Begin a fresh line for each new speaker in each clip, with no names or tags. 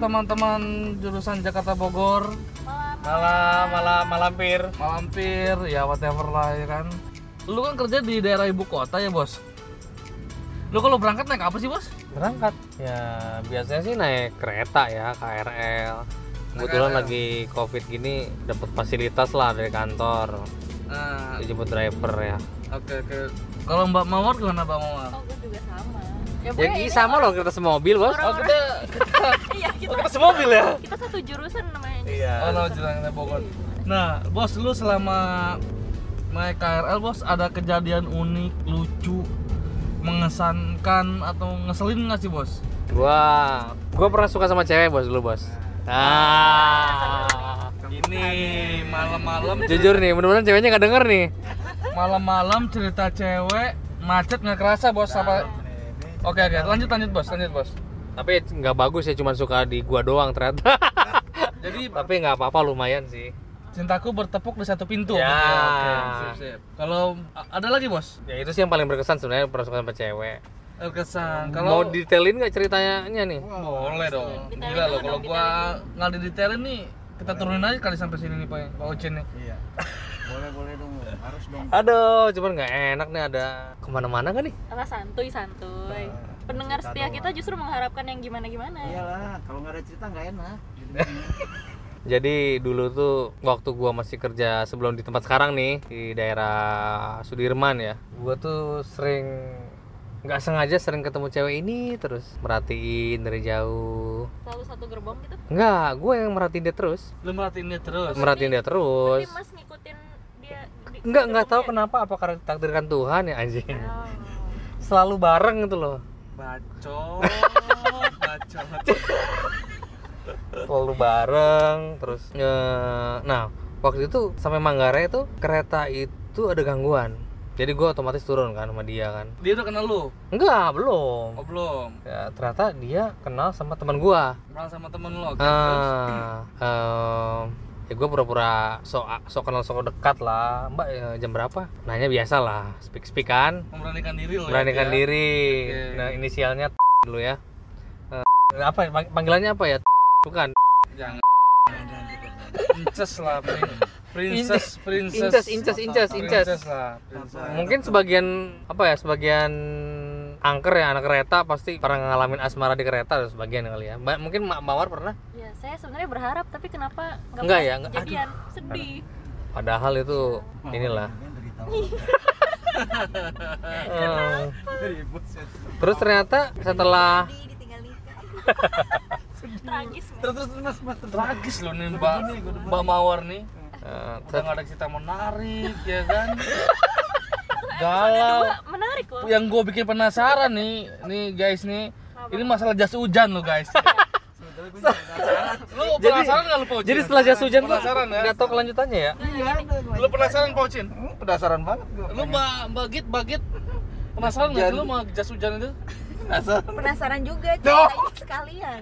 teman-teman jurusan Jakarta Bogor,
malam malam malampir
Malampir, ya whatever lah ya kan. Lu kan kerja di daerah ibu kota ya bos. Lu kalau berangkat naik apa sih bos?
berangkat ya biasanya sih naik kereta ya KRL kebetulan
KRL.
lagi covid gini dapat fasilitas lah dari kantor
Nah,
dijemput driver ya
oke oke. Kalau Mbak Mawar gimana Mbak Mawar?
Oh, gue juga sama. Ya,
ya
pokoknya
Ki,
ini
sama loh kita semobil bos
Oh kita kita
Iya, kita,
kita semobil ya
kita satu jurusan namanya.
Iya.
oh no, jurusan kita Bogor. Nah, bos lu selama naik KRL bos ada kejadian unik, lucu, mengesankan atau ngeselin nggak sih bos?
gua gua pernah suka sama cewek bos dulu bos ah
Ini malam-malam
jujur nih mudah-mudahan ceweknya nggak denger nih
malam-malam cerita cewek macet nggak kerasa bos apa oke oke lanjut lanjut bos lanjut bos
tapi nggak bagus ya cuman suka di gua doang ternyata
jadi
tapi nggak apa-apa lumayan sih
cintaku bertepuk di satu pintu
Ya.
Oke, oke, sip, sip. kalau a- ada lagi bos Eh,
ya itu sih yang paling berkesan sebenarnya pernah suka sama cewek
kesan
mau
kalau
detailin nggak ceritanya nih
boleh dong
Detailin
gila loh
dulu
kalau
dong,
gua nggak didetailin nih kita turunin aja kali sampai sini nih pak pak Ucin nih
Iya. Boleh boleh dong, harus dong.
aduh cuman nggak enak nih ada kemana-mana nggak nih
Apa santuy santuy.
Nah,
Pendengar
cerita
setia
doang.
kita justru mengharapkan yang gimana gimana.
Iyalah, kalau nggak ada cerita nggak enak.
jadi dulu tuh waktu gua masih kerja sebelum di tempat sekarang nih di daerah Sudirman ya gua tuh sering nggak sengaja sering ketemu cewek ini terus merhatiin dari jauh
Selalu satu gerbong gitu.
nggak gue yang merhatiin dia terus
lu merhatiin dia terus
merhatiin dia terus
Tapi Mas ngikutin dia. di-
nggak nggak tahu
gerbongnya.
kenapa apa karena ditakdirkan Tuhan ya anjing
Oh.
selalu bareng gitu loh
bacot bacot
selalu bareng terus eh, nah waktu itu sampai Manggarai tuh kereta itu ada gangguan jadi gue otomatis turun kan sama dia kan
dia udah kenal lu
enggak belum
oh belum
ya, ternyata dia kenal sama teman gue
kenal sama temen lu oke terus
ah em, ya gue pura-pura sok sok kenal sok dekat lah mbak eh, jam berapa nanya biasa lah speak speak kan
memberanikan diri ya? lo
beranikan diri
Oh, iya. Oke.
nah inisialnya dulu ya Eh, apa pang- panggilannya apa ya bukan
jangan princess lah prin- princess princess
incas incas incas incas
princess lah princess.
mungkin sebagian apa ya sebagian angker ya anak kereta pasti pernah ngalamin asmara di kereta dan sebagian kali ya Mbak- mungkin Mak Mawar pernah
Ya, saya sebenarnya berharap tapi kenapa nggak
Nggak
pernah
ya, nggak-
jadian sedih.
padahal itu inilah
Ini derita.
Eh,
Ribut set.
terus ternyata setelah
Tragis. Mas.
Terus terus mas mas terus.
tragis loh nih mbak mbak mawar nih
eh,
udah
set-
nggak ada cerita menarik ya kan
Ada
galau
dua menarik loh.
yang gue bikin penasaran nih nih guys nih ini masalah jas hujan lo guys
Sebenarnya gue nggak ada.
lu
Jadi-
penasaran nggak lu Paucin?
jadi setelah jas hujan tuh
penasaran ya
nggak tahu kelanjutannya ya
Nggak ada. gua.
lu penasaran Paucin?
Hmm, Penasaran banget gue.
lu mbak mbak git mbak git penasaran nggak sih lu sama jas hujan itu
penasaran.
penasaran juga ceritanya sekalian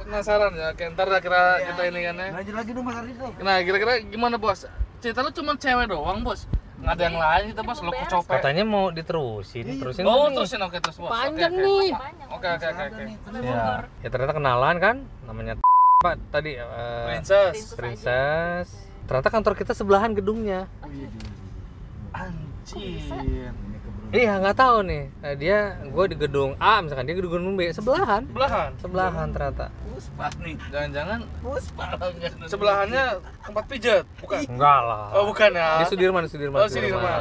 penasaran ya oke ntar dah kira kita ini kan ya
Iya. Lanjut lagi dong mas Ardi dong.
Nah, kira-kira gimana bos? Cerita lu cuma cewek doang bos? Nggak ada yang lain kita bos, lu
Beres.
kecopet
katanya mau diterusin terusin kan
Oh,
nggak nih?
terusin oke terus bos Oke,
panjang
oke.
nih
Banyak.
Oke, oke, oke oke
ya. ya ternyata kenalan kan namanya apa tadi eh,
Princess
princess ternyata kantor kita sebelahan gedungnya
Wih, di-
Anjir
Ini keburu.
Iya nggak tahu nih Eh, dia gue di gedung A misalkan dia di gedung B sebelahan
Sebelahan?
sebelahan ternyata
Puspa nih.
Jangan-jangan
Puspa.
sebelahannya tempat pijat? Bukan?
enggak lah
Oh bukan ya
di Sudirman di Sudirman,
Oh, Sudirman. Iya,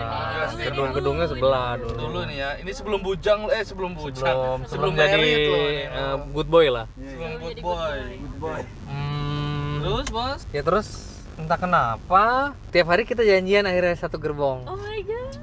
Sudirman.
gedung gedungnya sebelah dulu,
Dulu nih ya, ini sebelum bujang, eh sebelum
sebelum
bujang
sebelum jadi
married loh ini.
eh, good boy lah
Sebelum
Sebelum
good
jadi good
boy
boy.
Good boy.
Hmm,
Terus bos?
ya terus entah kenapa tiap hari kita janjian akhirnya satu gerbong
Oh my god.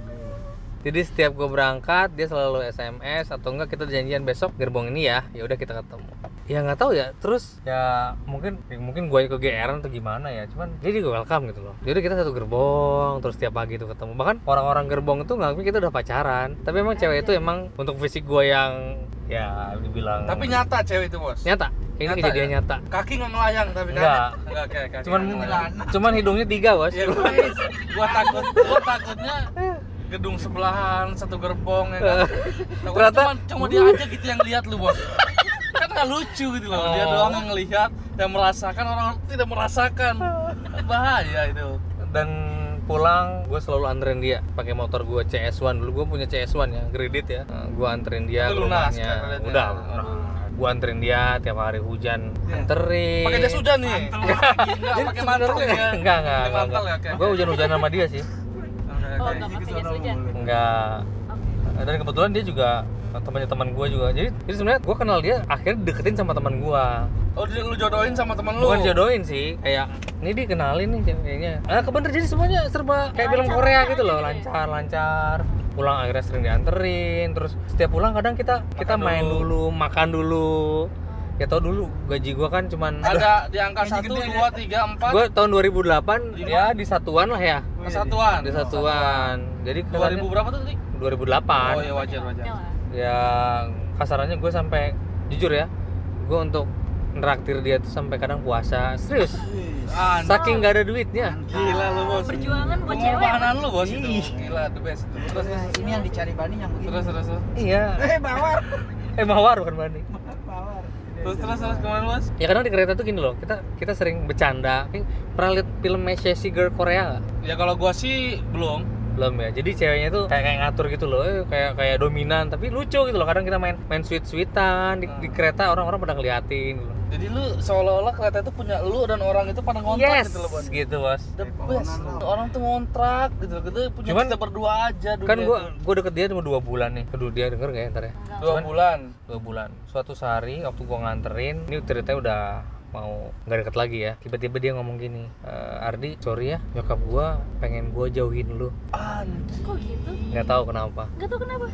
jadi setiap gue berangkat dia selalu sms atau enggak kita janjian besok gerbong ini ya ya udah kita ketemu ya nggak tahu ya terus ya mungkin ya mungkin gue kegeeran atau gimana ya cuman dia juga welcome gitu loh jadi kita satu gerbong terus tiap pagi tuh ketemu bahkan orang-orang gerbong itu nggak kita udah pacaran tapi emang cewek itu emang untuk fisik gue yang ya dibilang
Tapi nyata cewek itu bos?
nyata ini
Nyata
kejadian
ya?
nyata
Kaki nggak ngelayang tapi kan?
Iya. Nggak.
Nggak, oke, oke, oke.
cuman
Nggak ngelayang.
cuman hidungnya tiga bos
Ya, gua, gua takut, gua takutnya gedung sebelahan satu gerbong ya kan. Takutnya
Ternyata-
cuman- cuma dia aja gitu yang lihat lu, Bos. Kan nggak kita lucu gitu loh dia
Oh.
doang yang ngelihat dan merasakan orang tidak merasakan bahaya itu
dan pulang gue selalu anterin dia pakai motor gue CS1 dulu gue punya CS1 ya kredit ya gue anterin dia ke
Itu lunas
rumahnya
kan kreditnya?
udah gue anterin dia tiap hari hujan anterin
Iya. pakai jas hujan nih enggak
Jadi
pakai mantel
sebenarnya-
ya
enggak enggak
pakai mantel ya oke
gue hujan-hujan sama dia sih
Oke,
Oh,
oke.
enggak
Jadi
pakai
kesana
jas hujan.
mulu.
enggak
Oke.
dan kebetulan dia juga temannya teman gue juga jadi jadi sebenarnya gue kenal dia akhirnya deketin sama teman gue
oh dia- lu jodohin sama teman lu
bukan jodohin sih
Iya.
kayak ini dikenalin nih kayaknya ah kebener jadi semuanya serba kayak film
Lancar
Korea
aja
gitu loh
gitu ya?
lancar lancar pulang akhirnya sering dianterin terus setiap pulang kadang kita kita
Makan
main
dulu.
dulu. makan dulu
Hmm.
ya tau dulu gaji gue kan cuman
ada di angka
Gaji
satu
gede ya.
dua tiga empat
gue tahun 2008 ya di satuan lah ya
kesatuan
di satuan jadi
dua ribu
kesannya
berapa tuh Dik?
2008
oh ya wajar wajar
Udah lah.
ya kasarannya gue sampai jujur ya gue untuk neraktir dia tuh sampai kadang puasa serius
Ah,
saking gak ada duitnya
gila lu bos
Perjuangan buat cewek.
pengorbanan lu bos itu gila the best itu terus
Nah, ini yang dicari Bani yang begini.
terus terus terus
iya
Eh, bawar.
eh mawar bukan Bani
Bawar.
terus terus terus kemana bos
ya kadang di kereta tuh gini loh kita kita sering bercanda Ini pernah lihat film Messi Girl Korea nggak?
ya kalau gua sih belum
belum ya jadi ceweknya tuh kayak kayak ngatur gitu loh eh, kayak kayak dominan tapi lucu gitu loh kadang kita main main sweet sweetan di, di kereta orang-orang pada ngeliatin gitu loh
jadi lu seolah-olah kereta itu punya lu dan orang itu pada ngontrak
yes
gitu loh bos
gitu bos
the best
Teleponan lu.
orang tuh ngontrak gitu loh kita punya
Cuman-
kita berdua aja dunia
kan gue
tuh.
gue deket dia cuma dua bulan nih aduh dia denger gak ya ntar ya
dua bulan
dua bulan suatu sehari waktu gua nganterin ini ceritanya udah mau nggak deket lagi ya tiba-tiba dia ngomong gini "E, Ardi sorry ya nyokap gua pengen gua jauhin lu
Kok gitu?
nggak tahu kenapa
Gak tau kenapa.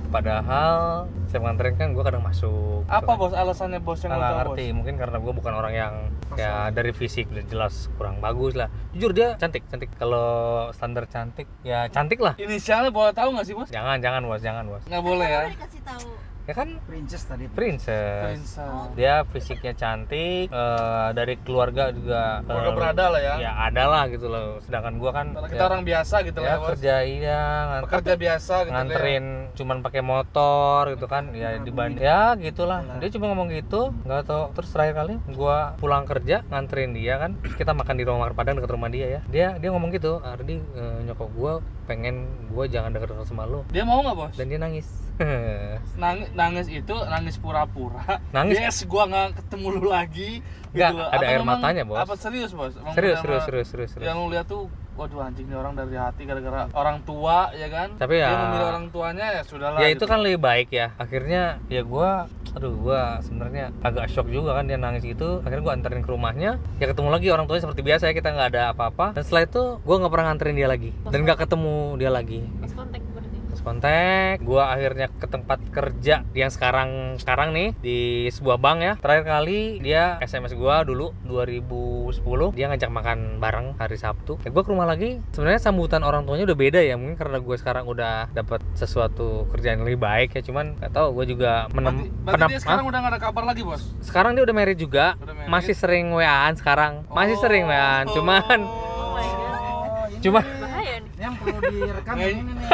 padahal saya nganterin kan gua kadang masuk kan
apa bos alasannya bos yang
Nggak
ngontrak bos
ngerti mungkin karena gua bukan orang yang ya dari fisik udah jelas kurang bagus lah jujur dia cantik cantik kalau standar cantik ya cantik lah
inisialnya boleh tahu nggak sih bos
jangan jangan was jangan was
nggak boleh ya
Baru dikasih tahu.
ya kan
Princess tadi.
princess
Prinsa.
dia fisiknya cantik eh, dari keluarga juga eh,
Keluarga berada lah ya.
ya ada lah gitu loh sedangkan gua kan
Kalau
ya,
kita orang biasa gitu lah ya,
ya,
bos
kerja iya nganter-
pekerja biasa gitu lah ya. Nah,
nganterin cuman pakai motor gitu kan ya dibanding
iya.
ya gitulah dia cuma ngomong gitu nggak tau terus terakhir kali gua pulang kerja nganterin dia kan kita makan di rumah makan padang dekat rumah dia ya dia dia ngomong gitu Ardi eh, nyokap gua pengen gua jangan deket-deket sama lo
dia mau nggak bos
dan dia nangis
nangis, nangis itu nangis pura-pura
Nangis?
yes gua nggak ketemu lu lagi
Nggak,
loh.
ada
Apa
air
memang-
matanya, Bos.
apa serius bos Emang
serius
benar-
serius serius serius serius
yang lu lihat tuh waduh anjing nih orang dari hati gara-gara orang tua ya kan
Tapi
dia
ya-
memilih orang tuanya ya sudahlah
ya itu kan lebih baik ya akhirnya ya gua aduh gua sebenarnya agak shock juga kan dia nangis gitu akhirnya gua anterin ke rumahnya ya ketemu lagi orang tuanya seperti biasa ya kita nggak ada apa-apa dan setelah itu gua nggak pernah nganterin dia lagi dan nggak ketemu dia lagi
Mas kontak berarti.
terus kontak gua akhirnya ke tempat kerja yang sekarang sekarang nih di sebuah bank ya terakhir kali dia sms gua dulu 2010 dia ngajak makan bareng hari sabtu ya gua ke rumah lagi sebenarnya sambutan orang tuanya udah beda ya mungkin karena gue sekarang udah dapat sesuatu kerjaan yang lebih baik ya cuman nggak tahu gue juga
berarti,
menem
berarti
penam-
dia
Hah?
sekarang udah gak ada kabar lagi bos
sekarang dia udah married juga
Udah married.
masih sering waan sekarang masih
Oh.
sering waan cuman
Oh.
my God.
Oh, ini
Cuma-
nih.
Bahaya nih.
Ini yang perlu direkam
Nggak,
ini nih.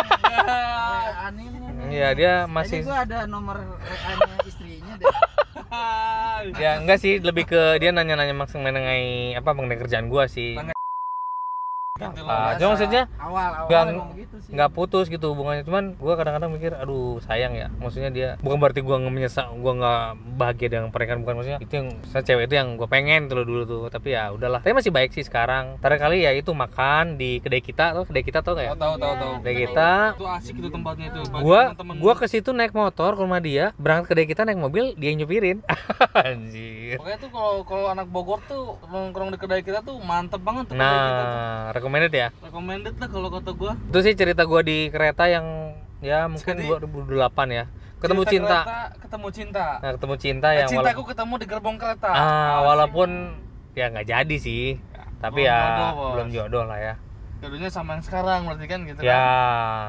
WA-an ini
Oh.
nih.
ya dia
Masih.
masih
gua ada nomor WA-nya istrinya deh.
Hai.
ya enggak sih lebih ke dia nanya-nanya maksud mengenai apa mengenai kerjaan gua sih
Nanya- Gitu loh,
Ah,
biasa.
cuma maksudnya
Awal-awal
Nggak-
Oh, emang begitu sih.
nggak putus gitu hubungannya cuman gua kadang-kadang mikir aduh sayang ya maksudnya dia bukan berarti gua nggak menyesal gua nggak bahagia dengan pernikahan bukan maksudnya itu yang saya cewek itu yang gua pengen tuh loh dulu tuh tapi ya udahlah tapi masih baik sih sekarang terakhir kali ya itu makan di kedai kita tuh kedai kita tau nggak ya
Oh, tahu tahu tahu tahu
kedai kita
itu asik itu tempatnya itu bagi
gua
teman-teman
gua ke situ naik motor ke rumah dia berangkat kedai kita naik mobil dia yang nyupirin anjir
Pokoknya tuh kalau kalau anak Bogor tuh nongkrong di kedai kita tuh mantep banget tuh kedai kita tuh.
nah recommended ya
Recommended lah kalau kata gua.
itu sih cerita gua di kereta yang ya mungkin
Jadi-
2008 ya ketemu cinta,
kereta, ketemu cinta.
Nah, ketemu cinta
Eh,
yang
cintaku ketemu di gerbong kereta.
Ah,
Asik.
walaupun ya nggak jadi sih.
belum
Tapi ya
jodoh, Bos.
belum jodoh lah ya.
Jodohnya sama yang sekarang berarti kan gitu
Ya,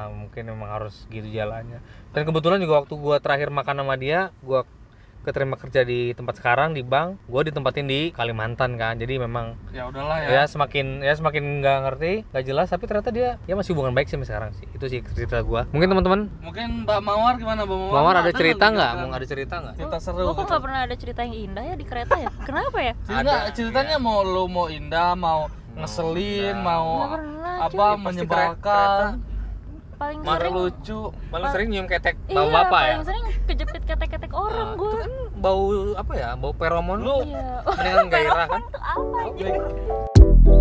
kan.
mungkin memang harus gitu jalannya. Dan kebetulan juga waktu gua terakhir makan sama dia, gua keterima kerja di tempat sekarang di bank gue ditempatin di Kalimantan kan jadi memang
ya udahlah ya,
ya semakin ya semakin nggak ngerti nggak jelas tapi ternyata dia ya masih hubungan baik sampai sekarang sih itu sih cerita gue mungkin teman-teman
mungkin Mbak Mawar gimana Mbak Mawar?
Mbak Mawar ada
nggak
cerita
nih
nggak?
cerita-
Mau ada cerita nggak?
cerita seru
Gue kok
gitu.
gak pernah ada cerita yang indah ya di kereta ya? Kenapa ya?
Cerita,
Ada, iya.
ceritanya mau lu mau indah, mau ngeselin,
indah.
mau
Nggak pernah,
apa
cuy.
menyebalkan,
Paling
Mana
ada
sering
lucu.
Paling sering nyium ketek
Iya,
bau bapak ya?
paling sering kejepit ketek-ketek
Nah,
orang gue
Itu kan bau apa ya? Bau feromon
Lu
Iya
dengan gairah kan?
Itu apa aja?